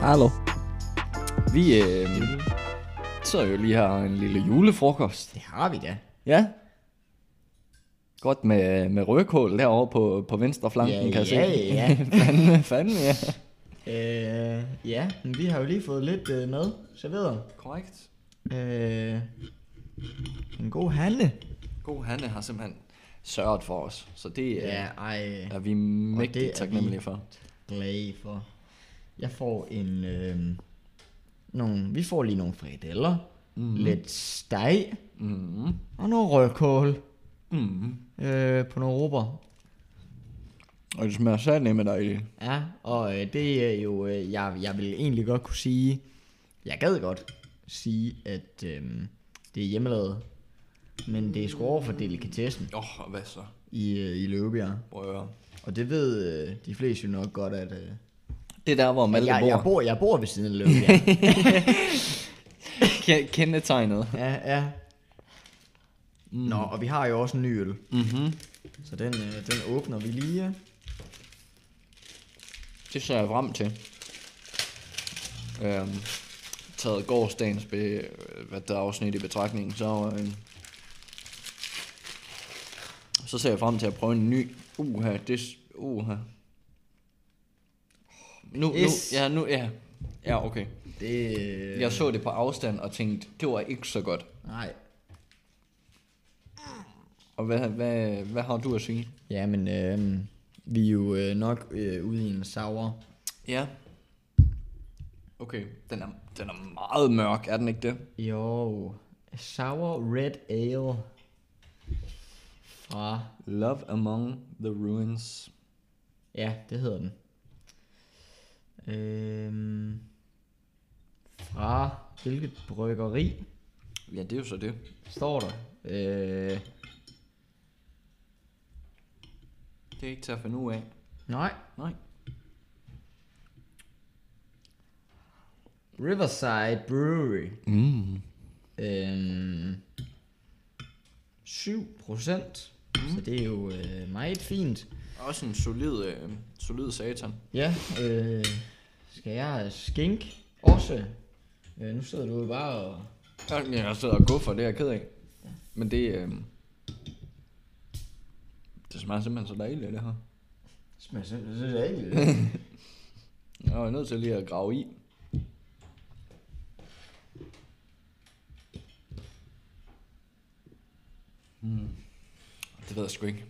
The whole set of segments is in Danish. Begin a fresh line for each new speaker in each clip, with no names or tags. Hallo. Vi øh, sidder jo lige her og har en lille julefrokost.
Det har vi da.
Ja. Godt med, med rødkål derovre på, på venstre flanken,
Ja,
kan jeg se.
ja, ja.
fanden, fanden, ja.
Øh, ja, men vi har jo lige fået lidt øh, mad serveret.
Korrekt.
Øh, en god handle.
God Hanne har simpelthen sørget for os, så det
Ja,
ja.
ej,
er vi
det
mægtigt
er
taknemmelige
vi.
for.
glad for. Jeg får en, øh, nogle, vi får lige nogle frikadeller, mm. lidt steg
Mm-hmm.
og noget rødkål
Mm-hmm.
øh, på nogle råber.
Og det smager sandt med dig i.
Ja, og øh, det er jo, øh, jeg, jeg vil egentlig godt kunne sige, jeg gad godt sige, at øh, det er hjemmelavet, men det er sgu over for delikatessen
Åh, oh, hvad så?
i, øh, i Løbjerg.
Prøv
Og det ved øh, de fleste jo nok godt, at øh,
Det er der, hvor
at
Malte
jeg, jeg,
bor.
bor, jeg bor ved siden af Løbjerg.
Ke- Kendetegnet.
ja, ja. Nå, og vi har jo også en ny øl,
Mm. Mm-hmm.
så den, øh, den åbner vi lige.
Det ser jeg frem til. Øhm, taget gårdsdagens be, øh, hvad der er afsnit i betragtning, så, øhm, så ser jeg frem til at prøve en ny. Uha, det... s- Uha. Nu, nu,
Pis.
ja, nu, ja. Ja, okay.
Det, øh,
Jeg så det på afstand og tænkte, det var ikke så godt.
Nej.
Og hvad, hvad, hvad har du at sige?
Ja, men øh, vi er jo øh, nok øh, ude i en sour.
Ja. Okay, den er, den er meget mørk, er den ikke det?
Jo, Sour Red Ale fra,
Love Among the Ruins.
ja, det hedder den. Øhm, fra hvilket bryggeri
Ja, det er jo så det.
står der? Øh,
Det er ikke til at finde ud af.
nej,
Nej.
Riverside Brewery.
Mm.
Øhm, 7 procent, så det er jo øh, meget fint.
Også en solid, øh, solid satan.
Ja, øh, skal jeg skink også? Øh, nu sidder du jo bare og...
Ja, Jeg sidder og guffer, det er jeg ked af. Men det, øh, det smager simpelthen så dejligt, det her.
Smager simpelthen så ikke.
Jeg er nødt til lige at grave i. Mm. Hmm. Det ved jeg sgu ikke.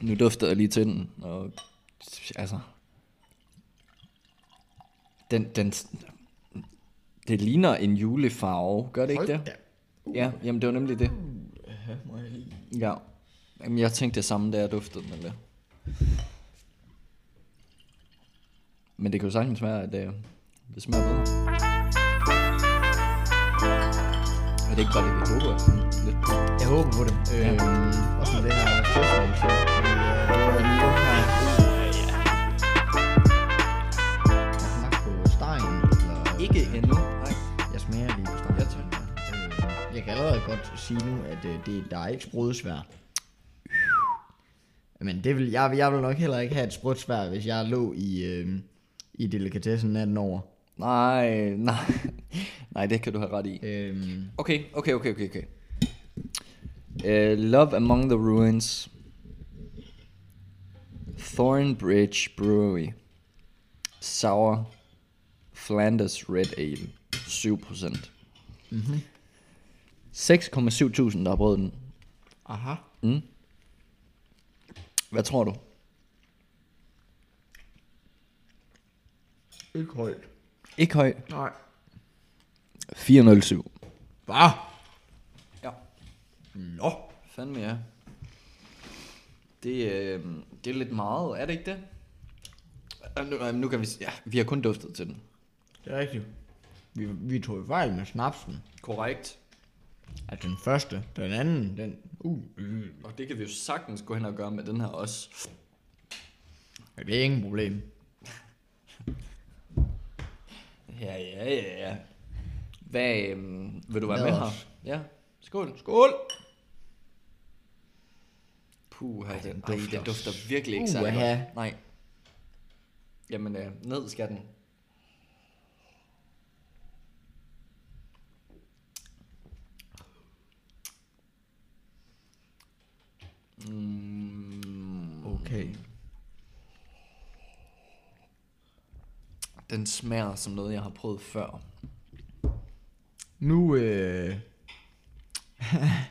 Nu duftede jeg lige til den, og altså... Den, den, det ligner en julefarve, gør det ikke det? Ja, jamen det var nemlig det.
Må jeg lige...
Ja. Jamen jeg tænkte det samme, da jeg duftede den, eller? Men det kan jo sagtens være, at øh, det smager bedre. Er det ikke bare det, vi håber? Lidt.
Jeg håber på det. Øh, også med det her festival, så... Øh, vi jo her. Jeg har smagt på stegen, eller...
Ikke endnu. Nej.
Jeg smager lige på stegen.
Jeg tager
Øh, Jeg kan allerede godt sige nu, at øh, det, der er ikke sprudesvær. Men det vil, jeg, jeg vil nok heller ikke have et sprudsvær, hvis jeg lå i, øh, i delikatessen natten over.
Nej, nej. Nej, det kan du have ret i.
Øh,
Okay, okay, okay, okay, okay. Uh, Love Among the Ruins. Thornbridge Brewery. Sour Flanders Red Ale. 7%.
Mhm.
6,7 tusind, der har prøvet den.
Aha.
Mm. Hvad tror du?
Ikke højt.
Ikke høj.
Nej.
407.
Hvad?
Ja.
Nå.
Fandme ja. Det, øh, det er lidt meget, er det ikke det? Ah, Nu, ah, nu kan vi... s- Ja, vi har kun duftet til den.
Det er rigtigt. Vi, vi tog jo fejl med snapsen.
Korrekt.
Altså den første, den anden, den... Uh, øh.
Og det kan vi jo sagtens gå hen og gøre med den her også.
Ja, det er ingen problem.
Ja, ja, ja, ja. Hvad, øhm, vil du være
Lad
med her?
os.
Ja. Skål. Skål. Puh, ej, den, ej,
dufter
den dufter virkelig ikke særlig
uha.
godt. Nej. Jamen, øh, ned skal den. Mm.
Okay.
Den smager som noget, jeg har prøvet før.
Nu, øh,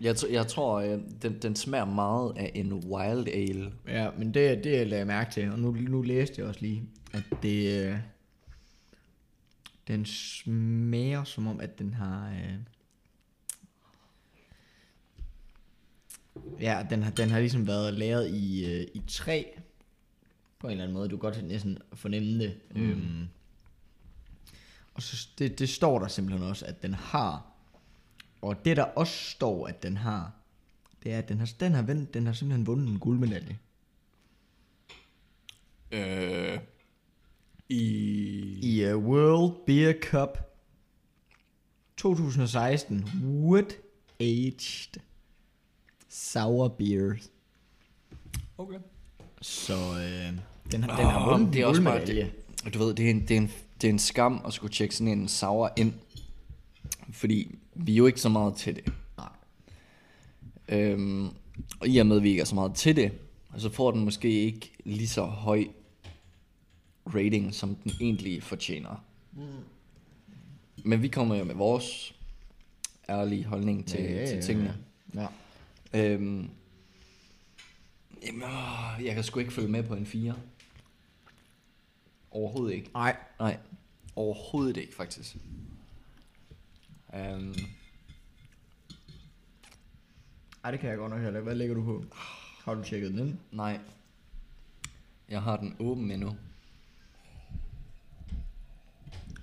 Jeg, tr- jeg tror, øh, den, den smager meget af en wild ale.
ja, men det, det lagde jeg mærke til, og nu, nu læste jeg også lige, at det, øh, den smager som om, at den har, øh, ja, den har, den har ligesom været lavet i, øh, i træ, på en eller anden måde, du kan godt næsten fornemme det. Mm. Øhm, og så det, det står der simpelthen også, at den har, og det der også står, at den har, det er, at den har, den har, vendt, den har simpelthen vundet en guldmedalje.
Øh, I...
i uh, World Beer Cup 2016 Wood Aged Sour Beer.
Okay.
Så øh, den, har, den
Den
har
har
vundet
det er også bare,
guldmedalje.
det, du ved, det er, en, det, er en, det er en skam at skulle tjekke sådan en sour ind. Fordi vi er jo ikke så meget til det.
Nej.
Øhm, og i og med, at vi ikke er så meget til det, så får den måske ikke lige så høj rating, som den egentlig fortjener. Men vi kommer jo med vores ærlige holdning til, ja, ja, ja. til tingene.
Ja.
Øhm, jamen, åh, jeg kan sgu ikke følge med på en 4. Overhovedet ikke.
Nej.
Nej, overhovedet ikke faktisk. Øhm,
Ej, det kan jeg godt nok heller ikke. Hvad lægger du på? Har du tjekket den ind?
nej. Jeg har den åben endnu.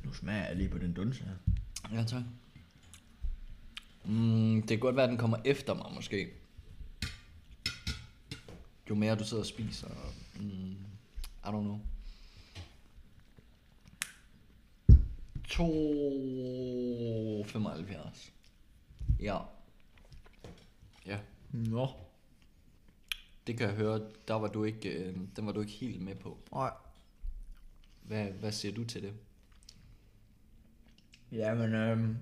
Nu smager jeg lige på den dunse her.
Ja, tak. Mm, det kan godt være, at den kommer efter mig, måske. Jo mere du sidder og spiser. Mm, I don't know. To 75. Ja. Ja,
Nå.
det kan jeg høre. Der var du ikke, øh, den var du ikke helt med på.
Nej.
Hvad, hvad siger du til det?
Jamen, øhm...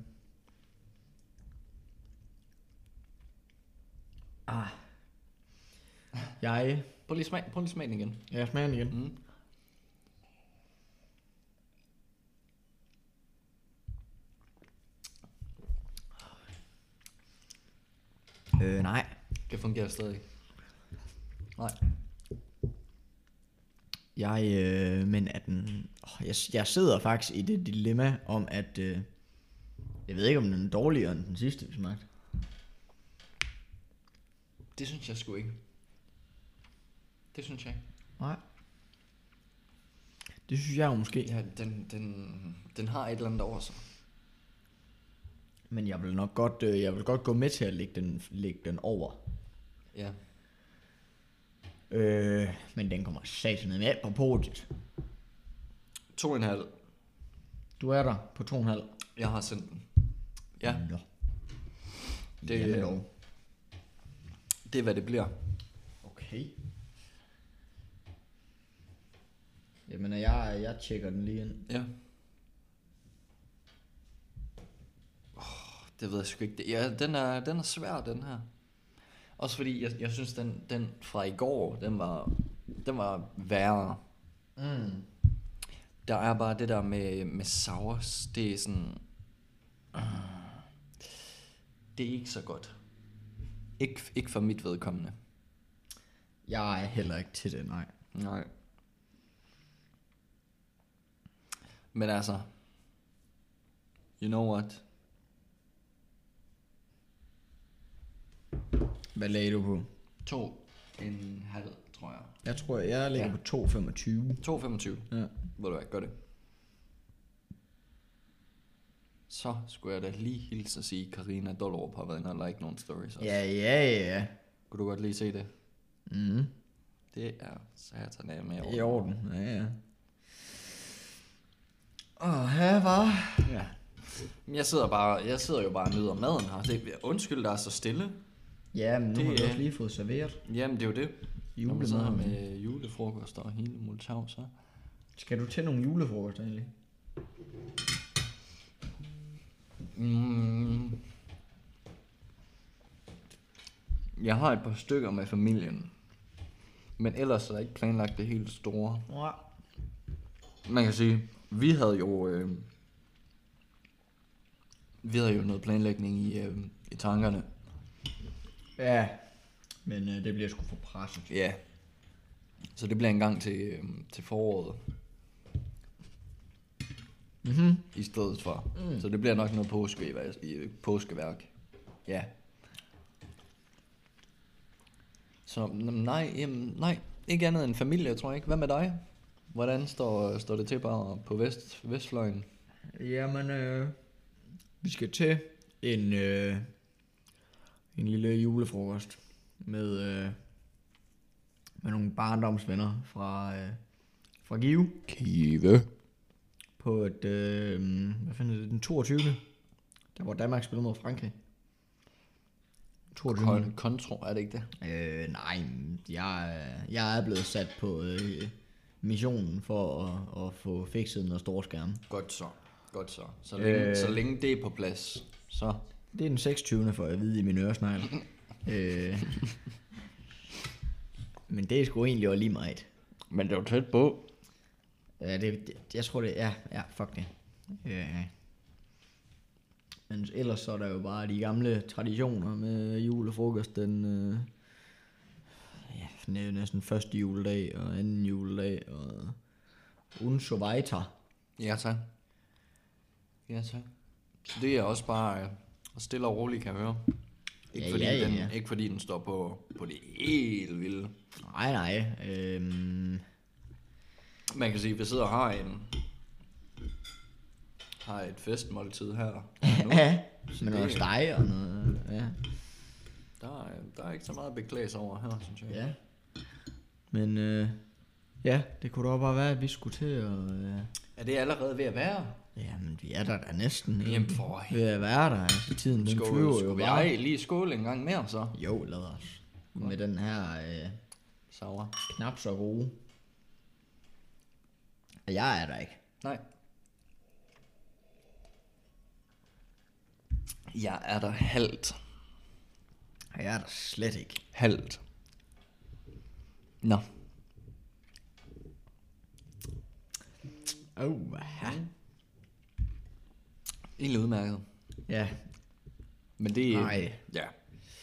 Ah. Jeg...
Prøv lige smag, prøv lige smagen igen.
Jeg smager den igen.
Mm.
Øh, nej.
Det fungerer stadig. Nej.
Jeg, øh, men at den, åh, jeg, jeg sidder faktisk i det dilemma om, at øh, jeg ved ikke, om den er dårligere end den sidste, vi smagte.
Det synes jeg sgu ikke. Det synes jeg ikke.
Nej. Det synes jeg jo måske.
Ja, den, den, den har et eller andet over sig.
Men jeg vil nok godt, øh, jeg vil godt gå med til at lægge den, lægge den over.
Ja.
Øh, men den kommer satan med på podiet.
To og en halv.
Du er der på 2,5.
Jeg har sendt den. Ja,
Nå.
Det-
Jamen dog.
det er hvad det bliver.
Okay. Jamen, og jeg, jeg tjekker den lige ind.
Ja. Oh, det ved jeg sgu ikke. Det- Ja, den er, den er svær, den her. Også fordi, jeg, jeg synes, den, den fra i går, den var, den var værre.
Mm.
Der er bare det der med, med sours, det er sådan... ah, Det er ikke så godt. Ikke, ikke for mit vedkommende.
Jeg er heller ikke til det, nej.
Nej. Men altså... You know what?
Hvad lagde du på?
To en halv, tror jeg.
Jeg tror, jeg ligger
Ja.
ja. på 2,25.
2,25.
Ja.
Ved du hvad, gør det. Så skulle jeg da lige hilse og sige, Karina Dollerup har været inde og like nogle stories også.
Ja, ja, ja.
Kunne du godt lige se det?
Mm.
Det er satan af med
I orden. Ja, ja. Åh, her var.
Ja. Men Jeg sidder, bare, jeg sidder jo bare og nyder maden her. Det, undskyld, der er så stille.
Ja, men nu det,
Det,
har vi
øh,
også lige fået serveret.
Jamen, det er jo det. Når man sidder her
Julemaden.
med øh, julefrokost og hele multav, så...
Skal du til nogle julefrokoster egentlig?
Mm. Jeg har et par stykker med familien. Men ellers er der ikke planlagt det helt store.
Ja.
Man kan sige, vi havde jo... Øh, vi havde jo noget planlægning i, øh, i tankerne.
ja. Men øh, det bliver sgu for presset.
Ja. Så det bliver en gang til, øh, til foråret.
Mhm.
i stedet for. Mm-hmm. Mm. Så det bliver nok noget påskeværk. påskeværk. Ja. Så n- nej, jamen, nej, ikke andet end familie, tror jeg ikke. Hvad med dig? Hvordan står, står det til bare på vest, Vestfløjen?
Jamen, øh, vi skal til en, øh, en lille julefrokost med, øh, med nogle barndomsvenner fra, øh, fra Give
Kive.
på et, øh, hvad fanden er det, den 22. Der hvor Danmark spiller mod Frankrig. 22.
Kon- kontro, er det ikke det?
Øh, nej, jeg, er- jeg er blevet sat på øh, missionen for at, at få fikset noget storskærm.
Godt så. Godt så. Så længe, øh. så længe det er på plads, så...
Det er den 26. for at vide i min øresnegl. øh. Men det er sgu egentlig også lige meget.
Men det er jo tæt på.
Ja, det, det, jeg tror det er. Ja, fuck det. Øh. Men ellers så er der jo bare de gamle traditioner med julefrokost den... Øh, ja, næ- næsten første juledag og anden juledag og... Und so weiter.
Ja, tak. Ja, tak. Så det er også bare øh, stille og roligt, kan jeg høre. Ikke,
Ja,
fordi,
ja,
den,
ja.
ikke fordi den står på, på det helt vilde.
Nej, nej. Øhm,
Man kan sige, at vi sidder og har en har et festmåltid her. Nu,
ja,
Så
men
det-
noget steg og noget... Ja.
der, er, der er ikke så meget at beklage sig over her, synes jeg.
Ja. Men øh, ja, det kunne da bare være, at vi skulle til at... Øh,
Er det allerede ved at være?
jamen, vi er der da næsten. ikke?
Jamen for
Ved at være der, altså tiden den
skål,
flyver jo
skål.
bare.
Ej, lige skål en gang mere så.
Jo, lad os. Med den her øh,
Sauer.
knap så gode. Og Jeg er der ikke.
Nej. Jeg er der halvt.
Og Jeg er der slet ikke.
Halvt. Nå.
Oh, aha.
Egentlig udmærket.
Ja,
Men det er...
Nej.
Ja.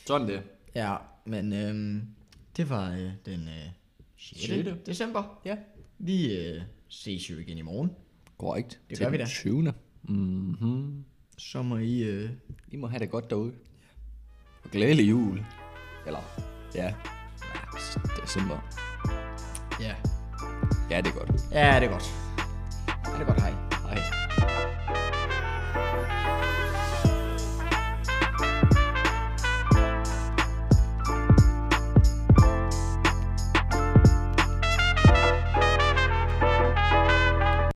Sådan det.
ja, men øhm, det var øh, den øh, 6.
Sjette.
december.
Ja.
Vi øh, ses jo igen i morgen.
Korrekt.
Det
Til
gør vi
den
da.
20. Mm-hmm.
Så må I... Øh,
I må have det godt derude. Og glædelig jul. Eller, ja. Ja, s- December.
ja.
Ja, det er godt.
ja, det er godt. Ja, det er godt, hej.
Hej.